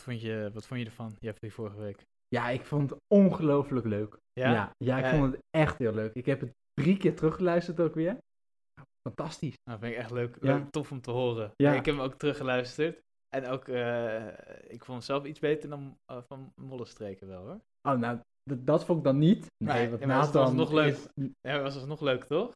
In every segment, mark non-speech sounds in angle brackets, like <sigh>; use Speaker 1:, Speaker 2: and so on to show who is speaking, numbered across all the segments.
Speaker 1: vond je, wat vond je ervan, Jeffrey, vorige week?
Speaker 2: Ja, ik vond het ongelooflijk leuk.
Speaker 1: Ja?
Speaker 2: ja, ja, ik
Speaker 1: Ja.
Speaker 2: vond het echt heel leuk. Ik heb het drie keer teruggeluisterd ook weer. Fantastisch.
Speaker 1: Nou, vind ik echt leuk.
Speaker 2: Ja.
Speaker 1: leuk tof om te horen.
Speaker 2: Ja.
Speaker 1: Ik heb hem ook teruggeluisterd. En ook, eh, ik vond hem zelf iets beter dan eh, van Mollestreken wel, hoor.
Speaker 2: Oh, nou, dat, dat vond ik dan niet. Nee,
Speaker 1: Nee,
Speaker 2: wat
Speaker 1: ja, maar het was
Speaker 2: Nathan
Speaker 1: nog leuk.
Speaker 2: is- <laughs>
Speaker 1: Ja, maar was alsnog leuk, toch?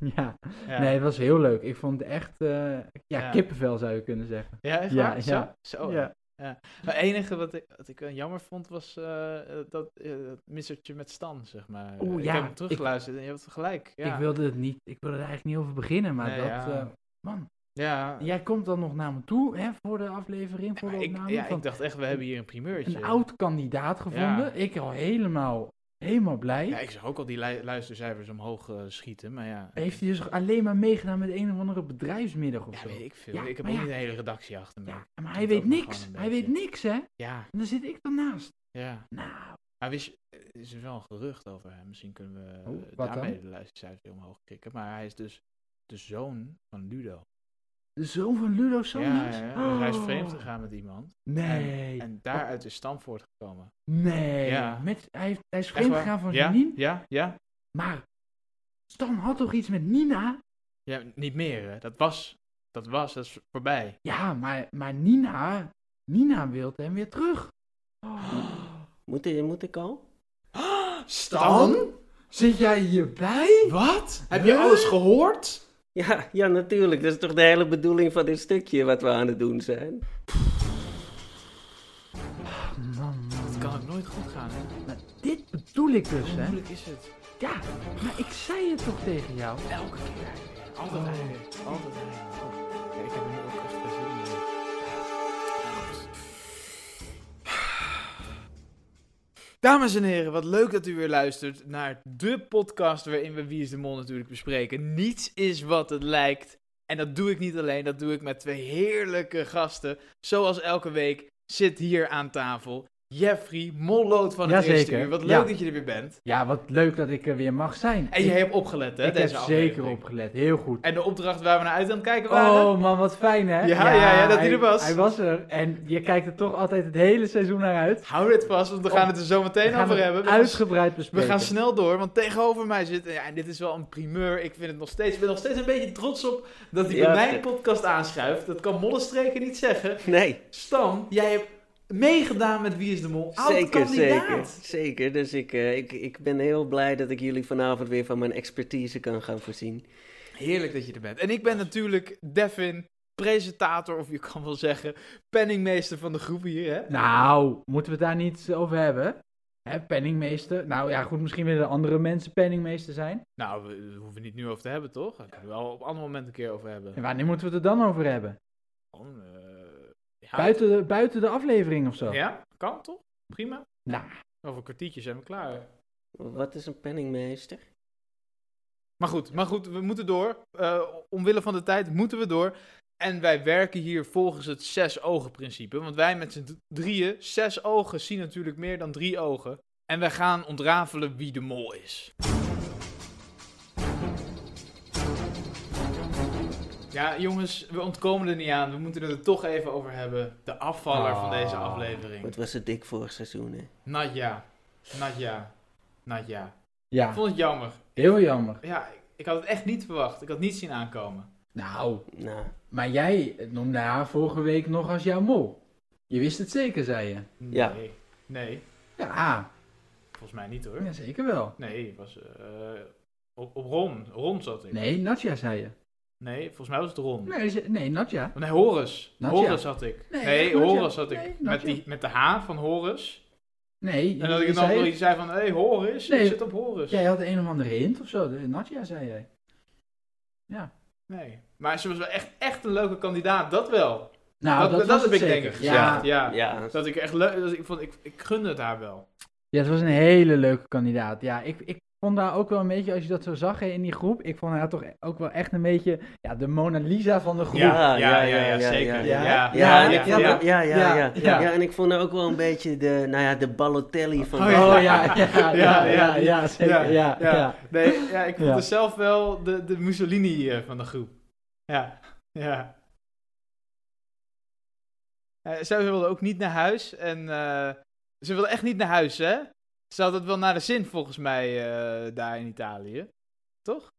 Speaker 2: ja.
Speaker 1: Ja.
Speaker 2: nee, het was heel leuk. Ik vond het echt, eh, ja,
Speaker 1: Ja. Oh,
Speaker 2: kippenvel zou je kunnen zeggen.
Speaker 1: Ja, echt
Speaker 2: Ja,
Speaker 1: waar? Zo?
Speaker 2: ja.
Speaker 1: Zo,
Speaker 2: Ja.
Speaker 1: Maar het enige wat ik, wat ik wel jammer vond was eh, eh, dat, eh, dat missertje met Stan, zeg maar.
Speaker 2: Oeh,
Speaker 1: ik
Speaker 2: ja,
Speaker 1: heb hem
Speaker 2: ik-
Speaker 1: teruggeluisterd en je hebt gelijk. Ja,
Speaker 2: Ik wilde het niet, ik wilde er eigenlijk niet over beginnen, maar
Speaker 1: Nee,
Speaker 2: dat,
Speaker 1: ja.
Speaker 2: eh, man.
Speaker 1: ja,
Speaker 2: En Jij komt dan nog naar me toe, hè, voor de aflevering, voor
Speaker 1: maar
Speaker 2: de
Speaker 1: ik,
Speaker 2: opname.
Speaker 1: ja
Speaker 2: nou van
Speaker 1: ik dacht echt, we hebben hier een primeurtje.
Speaker 2: een oud kandidaat gevonden. Ik al helemaal, helemaal blij.
Speaker 1: Ja, ik zag ook al die lu- luistercijfers omhoog eh, schieten, maar ja.
Speaker 2: Heeft hij dus alleen maar meegedaan met een of andere bedrijfsmiddag of
Speaker 1: Ja,
Speaker 2: zo?
Speaker 1: weet ik veel.
Speaker 2: Ja,
Speaker 1: ik heb
Speaker 2: maar
Speaker 1: ook
Speaker 2: ja.
Speaker 1: niet een hele redactie achter me.
Speaker 2: Ja, maar hij
Speaker 1: doet
Speaker 2: weet
Speaker 1: ook nog
Speaker 2: niks.
Speaker 1: gewoon een
Speaker 2: Hij weet
Speaker 1: beetje.
Speaker 2: niks, hè?
Speaker 1: Ja,
Speaker 2: En dan zit ik ernaast.
Speaker 1: ja.
Speaker 2: Nou,
Speaker 1: Maar wist je, er is wel een gerucht over hem. Misschien kunnen we
Speaker 2: Oh,
Speaker 1: eh,
Speaker 2: wat
Speaker 1: daarmee
Speaker 2: dan?
Speaker 1: de luistercijfers weer omhoog krikken. Maar hij is dus de zoon van Ludo.
Speaker 2: de zoon van Ludo Sanders?
Speaker 1: Ja, ja, ja. Dus hij is
Speaker 2: Oh,
Speaker 1: vreemd gegaan met iemand.
Speaker 2: Nee, Oh.
Speaker 1: En daaruit is Stam voortgekomen.
Speaker 2: nee.
Speaker 1: Ja.
Speaker 2: Met, hij, heeft- hij is
Speaker 1: Echt
Speaker 2: vreemd
Speaker 1: waar?
Speaker 2: gegaan van
Speaker 1: ja?
Speaker 2: Janine.
Speaker 1: Ja, ja.
Speaker 2: Maar Stan had toch iets met Nina?
Speaker 1: Ja, niet meer. Hè. Dat was, dat was, dat is voorbij.
Speaker 2: Ja, maar, maar Nina, Nina wil hem weer
Speaker 1: <gasps>
Speaker 2: terug. Oh.
Speaker 3: Moet, ik- moet ik al? <laughs>
Speaker 2: Zit jij hierbij?
Speaker 1: Wat?
Speaker 2: Heb je alles
Speaker 1: gehoord?
Speaker 3: Ja, ja, natuurlijk. Dat is toch de hele bedoeling van dit stukje wat we aan het doen zijn.
Speaker 2: Man, man.
Speaker 1: Het kan ook nooit goed gaan. Hè.
Speaker 2: Maar dit bedoel ik dus,
Speaker 1: Hoe
Speaker 2: hè?
Speaker 1: moeilijk is het?
Speaker 2: Ja, maar ik zei het toch tegen jou?
Speaker 1: Elke keer. eigenlijk. Altijd
Speaker 2: Oh.
Speaker 1: eigenlijk. Altijd eigenlijk. Oh. Ja, ik heb er nu ook echt geen zin in. Dames en heren, wat leuk dat u weer luistert naar de podcast waarin we Wie is de Mol natuurlijk bespreken. Niets is wat het lijkt. En dat doe ik niet alleen, dat doe ik met twee heerlijke gasten. Zoals elke week zit hier aan tafel Jeffrey Molloot van het
Speaker 2: Jazeker,
Speaker 1: Eerste Uur. Wat leuk
Speaker 2: ja.
Speaker 1: dat je er weer bent.
Speaker 2: Ja, wat leuk dat ik er weer mag zijn.
Speaker 1: En je hebt opgelet, hè?
Speaker 2: ik heb
Speaker 1: deze
Speaker 2: zeker
Speaker 1: aflevering.
Speaker 2: opgelet, heel goed.
Speaker 1: En de opdracht waar we naar uit aan het kijken waren.
Speaker 2: Oh man, wat fijn hè?
Speaker 1: Ja, ja, ja, dat hij er was.
Speaker 2: Hij was er. En je kijkt er toch altijd het hele seizoen naar uit.
Speaker 1: Hou dit vast, want we gaan het er zo
Speaker 2: Oh. We
Speaker 1: meteen
Speaker 2: gaan
Speaker 1: over
Speaker 2: het
Speaker 1: hebben. We gaan
Speaker 2: Uitgebreid
Speaker 1: We
Speaker 2: bespreken.
Speaker 1: gaan snel door, want tegenover mij zit. Ja, en dit is wel een primeur. Ik vind het nog steeds. Ik ben nog steeds een beetje trots op dat hij
Speaker 3: Ja,
Speaker 1: bij mijn
Speaker 3: dit-
Speaker 1: podcast aanschuift. Dat kan Mollestreken niet zeggen.
Speaker 3: Nee,
Speaker 1: Stan, jij hebt meegedaan met Wie is de Mol? Oud
Speaker 3: zeker,
Speaker 1: kandidaat.
Speaker 3: zeker. Zeker. Dus ik, eh, ik, ik ben heel blij dat ik jullie vanavond weer van mijn expertise kan gaan voorzien.
Speaker 1: Heerlijk dat je er bent. En ik ben natuurlijk Devin, presentator, of je kan wel zeggen, penningmeester van de groep hier. Hè?
Speaker 2: Nou, moeten we het daar niet over hebben? Hè, penningmeester. Nou ja, goed, misschien willen andere mensen penningmeester zijn.
Speaker 1: Nou, we, we hoeven het niet nu over te hebben, toch? Daar kunnen we wel op een ander moment een keer over hebben.
Speaker 2: En wanneer moeten we het er dan over hebben?
Speaker 1: Nou, Gewoon, eh, ja.
Speaker 2: Buiten de, buiten de aflevering of zo?
Speaker 1: Ja, kan toch? Prima.
Speaker 2: Nou,
Speaker 1: Over een kwartiertje zijn we klaar.
Speaker 3: Wat is een penningmeester?
Speaker 1: Maar goed, maar goed, we moeten door. Eh, omwille van de tijd moeten we door. En wij werken hier volgens het zes ogen principe. Want wij met z'n d- drieën, zes ogen, zien natuurlijk meer dan drie ogen. En wij gaan ontrafelen wie de mol is. Ja, jongens, we ontkomen er niet aan. We moeten het er toch even over hebben. De afvaller van deze
Speaker 2: Ah.
Speaker 1: aflevering.
Speaker 3: Wat was het dik vorig seizoen, hè?
Speaker 1: Nadja. Nadja. Nadja. nou Ik
Speaker 2: ja,
Speaker 1: vond het jammer.
Speaker 2: heel jammer.
Speaker 1: Ja, ik- ik had het echt niet verwacht. Ik had het niet zien aankomen.
Speaker 2: Nou,
Speaker 3: Nou,
Speaker 2: maar jij noemde haar vorige week nog als jouw mol. Je wist het zeker, zei je.
Speaker 3: Ja.
Speaker 1: Nee. Nee,
Speaker 2: Ja,
Speaker 1: volgens mij niet hoor.
Speaker 2: ja zeker wel.
Speaker 1: Nee, het was eh, op, op Ron. Ron zat ik.
Speaker 2: Nee, Natja zei je.
Speaker 1: Nee, volgens mij was het Ron. Nee,
Speaker 2: Nee, ze- nee Natja.
Speaker 1: Horus.
Speaker 2: Nadja.
Speaker 1: Horus had ik.
Speaker 2: Nee,
Speaker 1: Nee,
Speaker 2: echt Nadja.
Speaker 1: Horus had ik.
Speaker 2: Nee,
Speaker 1: met,
Speaker 2: Nadja.
Speaker 1: die, met de H van Horus.
Speaker 2: Nee,
Speaker 1: En dat ik
Speaker 2: je
Speaker 1: dan nog
Speaker 2: zei-
Speaker 1: iets zei van, hé hey, Horus,
Speaker 2: Nee.
Speaker 1: ik zit op Horus.
Speaker 2: Jij had een of andere hint of zo. De- Natja, zei jij.
Speaker 1: Nee. Maar ze was wel echt, echt een leuke kandidaat, dat wel.
Speaker 2: Nou,
Speaker 1: dat
Speaker 2: dat,
Speaker 1: dat,
Speaker 2: was
Speaker 1: heb
Speaker 2: het
Speaker 1: ik
Speaker 2: zeker.
Speaker 1: denk ik
Speaker 2: ja.
Speaker 1: gezegd. Ja.
Speaker 3: ja.
Speaker 1: Dat ik echt leuk, dat ik, vond, ik, ik gunde het haar wel.
Speaker 2: ja, het was een hele leuke kandidaat. Ja, ik, ik vond haar ook wel een beetje, als je dat zo zag hè, in die groep, ik vond haar toch ook wel echt een beetje ja, de Mona Lisa van de groep.
Speaker 1: Ja, ja, ja,
Speaker 3: ja,
Speaker 1: ja,
Speaker 3: ja, ja,
Speaker 1: zeker.
Speaker 2: ja.
Speaker 1: Ja,
Speaker 3: Ja, en
Speaker 2: ja,
Speaker 3: ik vond
Speaker 2: ja.
Speaker 3: ook- ja, ja, ja,
Speaker 2: Ja,
Speaker 3: ja,
Speaker 1: ja.
Speaker 3: en ik vond haar ook wel een beetje de, nou ja, de Balotelli van...
Speaker 1: Oh,
Speaker 2: Oh ja, ja, ja, ja,
Speaker 1: <laughs> Ja,
Speaker 2: ja,
Speaker 1: ja,
Speaker 2: zeker. Ja, ja,
Speaker 1: ja. Nee, ja, ik vond
Speaker 2: Ja.
Speaker 1: het zelf wel de, de Mussolini eh, van de groep. Ja, ja. Eh, zij wilde ook niet naar huis. En eh, ze wilde echt niet naar huis, hè? Ze had het wel naar de zin, volgens mij, eh, daar in Italië. Toch?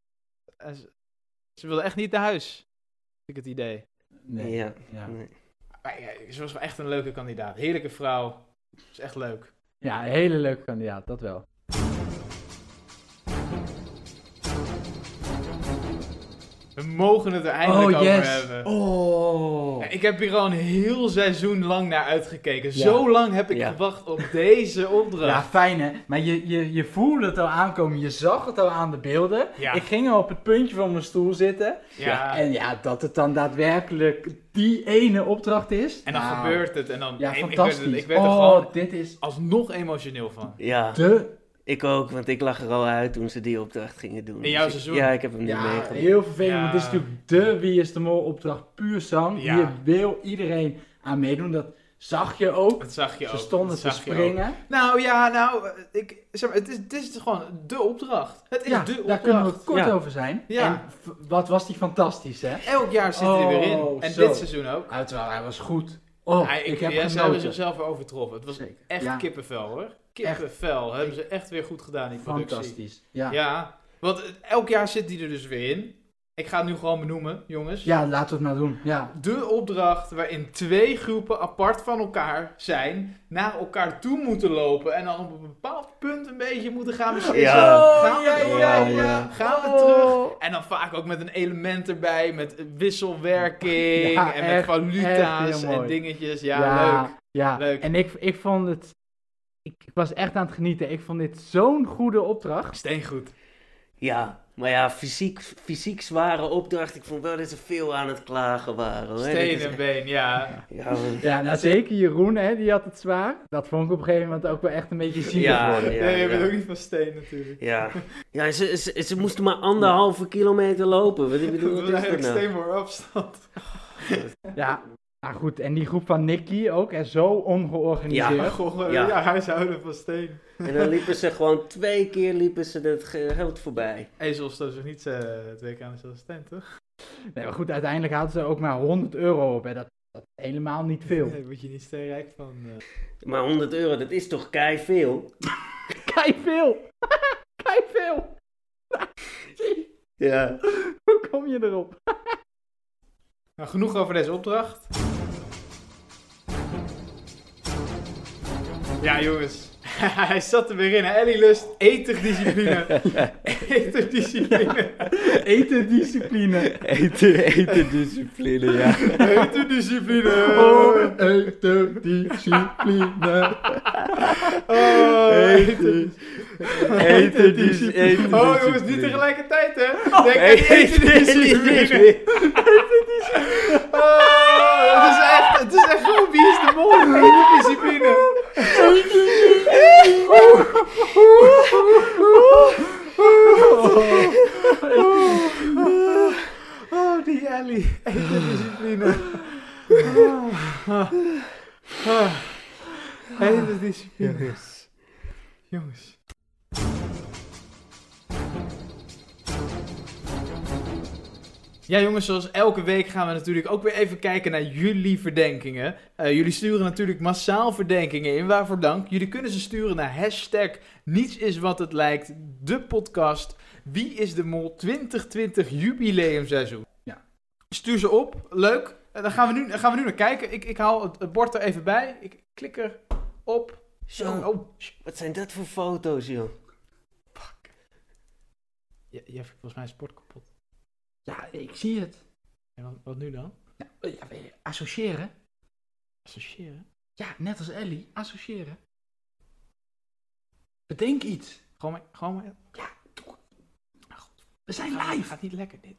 Speaker 1: En ze, ze wilde echt niet naar huis. Heb ik het idee.
Speaker 2: Nee.
Speaker 3: Ja.
Speaker 2: Ja.
Speaker 3: Nee.
Speaker 1: Maar ja, ze was wel echt een leuke kandidaat. Heerlijke vrouw. Is echt leuk.
Speaker 2: ja, een hele leuke kandidaat, dat wel.
Speaker 1: We mogen het er eindelijk
Speaker 2: oh,
Speaker 1: over
Speaker 2: yes.
Speaker 1: hebben.
Speaker 2: Oh.
Speaker 1: Ja, Ik heb hier al een heel seizoen lang naar uitgekeken.
Speaker 2: Ja.
Speaker 1: Zo lang heb ik
Speaker 3: Ja.
Speaker 1: gewacht op deze
Speaker 2: Ja,
Speaker 1: opdracht.
Speaker 2: fijn hè. Maar je, je, je voelde het al aankomen, je zag het al aan de beelden.
Speaker 1: Ja.
Speaker 2: Ik ging al op het puntje van mijn stoel zitten.
Speaker 1: Ja.
Speaker 2: En ja, dat het dan daadwerkelijk die ene opdracht is.
Speaker 1: En dan
Speaker 2: Nou,
Speaker 1: gebeurt het. En dan,
Speaker 2: Ja,
Speaker 1: ik- ik,
Speaker 2: fantastisch.
Speaker 1: werd, er- ik werd er
Speaker 2: oh,
Speaker 1: gewoon
Speaker 2: dit is
Speaker 1: alsnog emotioneel van.
Speaker 3: Ja,
Speaker 2: de...
Speaker 3: ik ook, want ik lag er al uit toen ze die opdracht gingen doen.
Speaker 1: In jouw
Speaker 3: Dus ik-
Speaker 1: seizoen?
Speaker 3: Ja, ik heb hem niet
Speaker 2: Ja,
Speaker 3: meegemaakt.
Speaker 2: heel vervelend.
Speaker 1: Ja.
Speaker 2: want dit is natuurlijk de Wie is de Mol opdracht puur zang.
Speaker 1: Ja.
Speaker 2: Hier wil iedereen aan meedoen. Dat zag je ook.
Speaker 1: Dat zag je ook.
Speaker 2: Ze stonden
Speaker 1: dat
Speaker 2: te
Speaker 1: zag je ook.
Speaker 2: springen.
Speaker 1: Nou ja, nou, eh, ik, zeg maar, het, is, het is gewoon de opdracht. Het is
Speaker 2: Ja,
Speaker 1: de
Speaker 2: daar kunnen we
Speaker 1: opdracht.
Speaker 2: kort
Speaker 3: Ja.
Speaker 2: over zijn.
Speaker 1: Ja.
Speaker 2: En v- wat was die fantastisch, hè?
Speaker 1: Elk jaar zit hij er weer in.
Speaker 2: Oh,
Speaker 1: En
Speaker 2: zo.
Speaker 1: dit seizoen ook.
Speaker 2: Uiteraard, hij was goed. Oh,
Speaker 1: Hij-
Speaker 2: ik, heb
Speaker 1: ja, ze hebben
Speaker 2: genoten.
Speaker 1: zichzelf weer overtroffen. Het was
Speaker 2: Zeker.
Speaker 1: echt
Speaker 2: Ja.
Speaker 1: kippenvel hoor. Kippenvel. Hebben ze echt weer goed gedaan, die productie.
Speaker 2: Fantastisch. Ja. Ja.
Speaker 1: Ja, want eh, elk jaar zit die er dus weer in. Ik ga het nu gewoon benoemen, jongens.
Speaker 2: laten we het maar doen. Ja.
Speaker 1: De opdracht waarin twee groepen apart van elkaar zijn, naar elkaar toe moeten lopen en dan op een bepaald punt een beetje moeten gaan beslissen.
Speaker 3: Ja.
Speaker 2: Oh,
Speaker 1: Gaan we
Speaker 2: ja,
Speaker 1: door?
Speaker 2: ja,
Speaker 3: ja.
Speaker 1: Gaan we
Speaker 2: Oh.
Speaker 1: terug? En dan vaak ook met een element erbij, met wisselwerking
Speaker 2: Ja,
Speaker 1: en met
Speaker 2: echt,
Speaker 1: valuta's
Speaker 2: echt heel
Speaker 1: en
Speaker 2: mooi.
Speaker 1: dingetjes. Ja, leuk.
Speaker 2: ja.
Speaker 1: Leuk.
Speaker 2: En ik, ik vond het... Ik, ik was echt aan het genieten. Ik vond dit zo'n goede opdracht.
Speaker 1: Steengoed.
Speaker 3: Ja, maar ja, fysiek, fysiek zware opdracht. Ik vond wel dat ze veel aan het klagen waren. Hoor. Dit
Speaker 1: Steen
Speaker 3: is
Speaker 1: en
Speaker 3: echt-
Speaker 1: been, ja.
Speaker 3: Ja, want-
Speaker 2: Ja, nou zeker Jeroen, hè, die had het zwaar. Dat vond ik op een gegeven moment ook wel echt een beetje zielig
Speaker 3: ja,
Speaker 2: worden.
Speaker 3: Oh, ja,
Speaker 1: nee, je bent ook
Speaker 3: ja.
Speaker 1: niet van steen natuurlijk.
Speaker 3: Ja, ja ze, ze, ze moesten maar anderhalve kilometer lopen. Wat, ik bedoel,
Speaker 1: Dat
Speaker 3: wat
Speaker 1: is
Speaker 3: is dat
Speaker 1: eigenlijk
Speaker 3: nou?
Speaker 1: steenmoor afstand.
Speaker 2: Ja. Nou goed, en die groep van Nicky ook, hè, zo ongeorganiseerd.
Speaker 1: Ja, goh, ja.
Speaker 3: Ja.
Speaker 1: huishouden van steen.
Speaker 3: En dan liepen ze gewoon twee keer liepen ze dat geld voorbij.
Speaker 1: Ezels stoot zich niet eh, het WK aan dezelfde steen, toch?
Speaker 2: Nee, maar goed, uiteindelijk hadden ze ook maar 100 euro op. Hè. Dat, dat is helemaal niet veel.
Speaker 1: Nee, daar <laughs> word je niet steenrijk van. eh.
Speaker 3: Maar 100 euro, dat is toch kei veel?
Speaker 2: Kijk veel! <laughs> Kijk veel!
Speaker 3: Ja.
Speaker 2: Hoe kom je erop?
Speaker 1: Nou, genoeg over deze opdracht. Ja, jongens. <laughs> Hij zat er weer in. hè. Ellie Lust, eterdiscipline. eterdiscipline.
Speaker 2: Etendiscipline.
Speaker 3: Eten, eten discipline, ja.
Speaker 1: eterdiscipline.
Speaker 2: Oh, etendiscipline.
Speaker 1: <laughs> Oh,
Speaker 3: Eten.
Speaker 2: Eterdis-
Speaker 1: Oh, jongens, niet tegelijkertijd, hè? Denk
Speaker 3: <laughs>
Speaker 1: aan die eterdiscipline. Oh, het is echt, het is echt gewoon wie is de mol? Eterdiscipline. Oh, die Ellie. <laughs> Eterdiscipline. Ah. Ah. Eterdiscipline. Jongens. Ja, jongens, zoals elke week gaan we natuurlijk ook weer even kijken naar jullie verdenkingen. Eh, jullie sturen natuurlijk massaal verdenkingen in, waarvoor dank. Jullie kunnen ze sturen naar hashtag Niets is wat het lijkt, de podcast Wie is de Mol 2020 jubileumseizoen.
Speaker 2: Ja.
Speaker 1: Stuur ze op, leuk. En dan gaan we nu, dan gaan we nu naar kijken. Ik, ik haal het, het bord er even bij. Ik klik er op.
Speaker 3: Zo,
Speaker 1: Oh,
Speaker 3: wat zijn dat voor foto's, joh?
Speaker 1: Jij jij hebt volgens mij een sport kapot.
Speaker 2: Ja, ik zie het.
Speaker 1: En wat, wat nu dan?
Speaker 2: Ja, weet je, associëren.
Speaker 1: Associëren?
Speaker 2: Ja, net als Ellie, associëren. Bedenk iets.
Speaker 1: Gewoon maar... Gewoon maar
Speaker 2: Ja, doe. We zijn live.
Speaker 1: gaat niet lekker dit.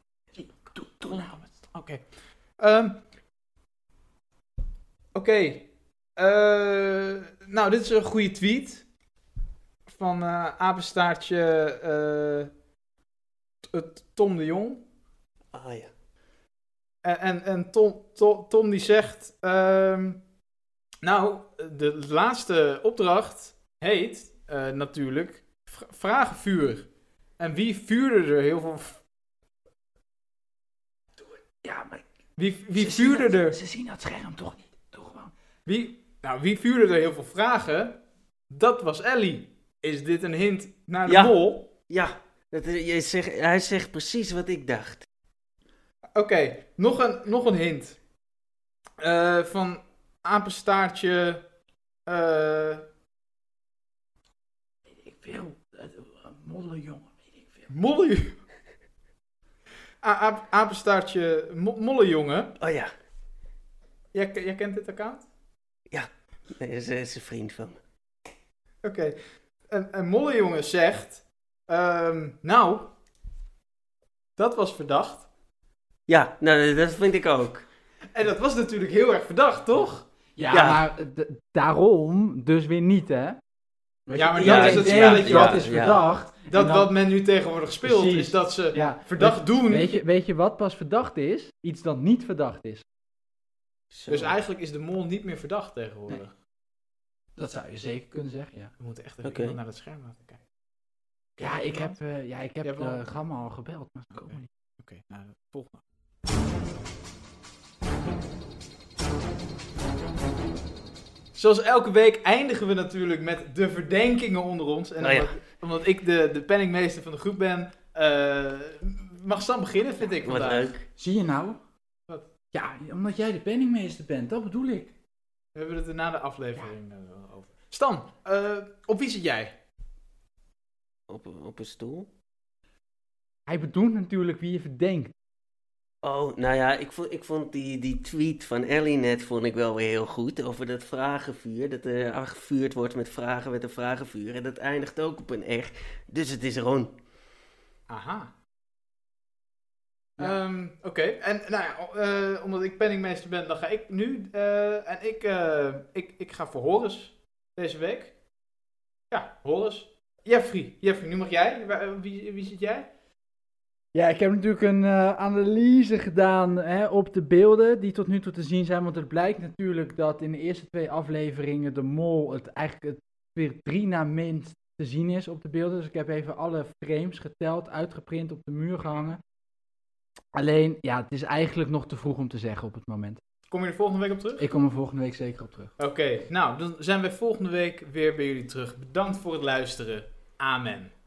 Speaker 2: Doe, doe nou.
Speaker 1: Oké. Ehm, Oké. Eh, nou, dit is een goede tweet. Van eh apenstaartje eh, t- het Tom de Jong.
Speaker 3: Ah ja.
Speaker 1: En, en, en Tom, Tom, Tom die zegt... ehm, nou, de laatste opdracht heet eh, natuurlijk vra- vragenvuur. En wie vuurde er heel veel...
Speaker 2: Ja, maar
Speaker 1: Wie, wie
Speaker 2: ze zien
Speaker 1: vuurde
Speaker 2: dat-
Speaker 1: er...
Speaker 2: Ze zien dat scherm toch niet. Doe gewoon.
Speaker 1: Wie, nou, wie vuurde er heel veel vragen? Dat was Ellie. Is dit een hint naar de
Speaker 3: Ja.
Speaker 1: mol?
Speaker 3: Ja, dat, is- je zegt, hij zegt precies wat ik dacht.
Speaker 1: Oké, nog, een, nog een hint. Eh, van apenstaartje... eh,
Speaker 2: Ik wil eh, modder jongen, weet ik veel.
Speaker 1: molleju... A- aap- apenstaartje mo mollejongen.
Speaker 3: Oh ja,
Speaker 1: Jij, jij kent dit account?
Speaker 3: nee, dat is, dat is een vriend van me.
Speaker 1: Oké. En, en Mollejongen zegt... ehm, nou, dat was verdacht.
Speaker 3: Ja, nou, dat vind ik ook.
Speaker 1: En dat was natuurlijk heel erg verdacht, toch?
Speaker 2: Ja,
Speaker 3: Ja.
Speaker 2: maar eh, d- daarom dus weer niet, hè?
Speaker 1: Ja, maar
Speaker 3: Ja,
Speaker 1: dat is
Speaker 3: ik
Speaker 1: het
Speaker 3: denk-
Speaker 1: spelletje
Speaker 3: ja,
Speaker 2: Dat is
Speaker 3: ja.
Speaker 2: verdacht.
Speaker 1: Dat
Speaker 2: En dan-
Speaker 1: wat men nu tegenwoordig speelt,
Speaker 2: Precies.
Speaker 1: is dat ze
Speaker 2: Ja.
Speaker 1: verdacht doen.
Speaker 2: Weet je, weet je wat pas verdacht is? Iets dat niet verdacht is.
Speaker 3: Zo.
Speaker 1: Dus eigenlijk is de mol niet meer verdacht tegenwoordig.
Speaker 2: Dat zou je zeker kunnen zeggen, ja.
Speaker 1: We moeten echt even
Speaker 3: Oké.
Speaker 1: iemand naar het scherm laten kijken.
Speaker 2: Ja, ik heb, eh, ja, ik heb
Speaker 1: Je hebt al-
Speaker 2: eh, Gamma al gebeld, maar ze komen
Speaker 1: Oké.
Speaker 2: niet.
Speaker 1: Oké, nou, volgende. Zoals elke week eindigen we natuurlijk met de verdenkingen onder ons. En
Speaker 3: Nou ja.
Speaker 1: omdat, omdat ik de, de penningmeester van de groep ben, eh, mag Sam beginnen, vind ik
Speaker 3: Wat
Speaker 1: vandaag.
Speaker 3: leuk.
Speaker 2: Zie je nou?
Speaker 1: Wat?
Speaker 2: Ja, omdat jij de penningmeester bent, dat bedoel ik.
Speaker 1: We hebben het er na de aflevering eh, wel over. Stan, eh, op wie zit jij?
Speaker 3: Op, op een stoel?
Speaker 2: Hij bedoelt natuurlijk wie je verdenkt.
Speaker 3: Oh, nou ja, ik vond, ik vond die, die tweet van Ellie net vond ik wel weer heel goed. Over dat vragenvuur. Dat er afgevuurd wordt met vragen met een vragenvuur. En dat eindigt ook op een echt. Dus het is Ron.
Speaker 1: Aha.
Speaker 2: Ja.
Speaker 1: Ehm, Oké, en nou ja, eh, omdat ik penningmeester ben, dan ga ik nu. eh, en ik, eh, ik, ik ga voor Horus deze week. Ja, Horus. Jeffrey, Jeffrey, nu mag jij. Wa- eh, Wie, wie zit jij?
Speaker 2: Ja, ik heb natuurlijk een eh, analyse gedaan hè, op de beelden die tot nu toe te zien zijn. Want het blijkt natuurlijk dat in de eerste twee afleveringen de mol het eigenlijk het weer drie na minst te zien is op de beelden. Dus ik heb even alle frames geteld, uitgeprint, op de muur gehangen. Alleen, ja, het is eigenlijk nog te vroeg om te zeggen op het moment.
Speaker 1: Kom je er volgende week op terug?
Speaker 2: Ik kom er volgende week zeker op terug.
Speaker 1: Oké, nou, dan zijn we volgende week weer bij jullie terug. Bedankt voor het luisteren. Amen.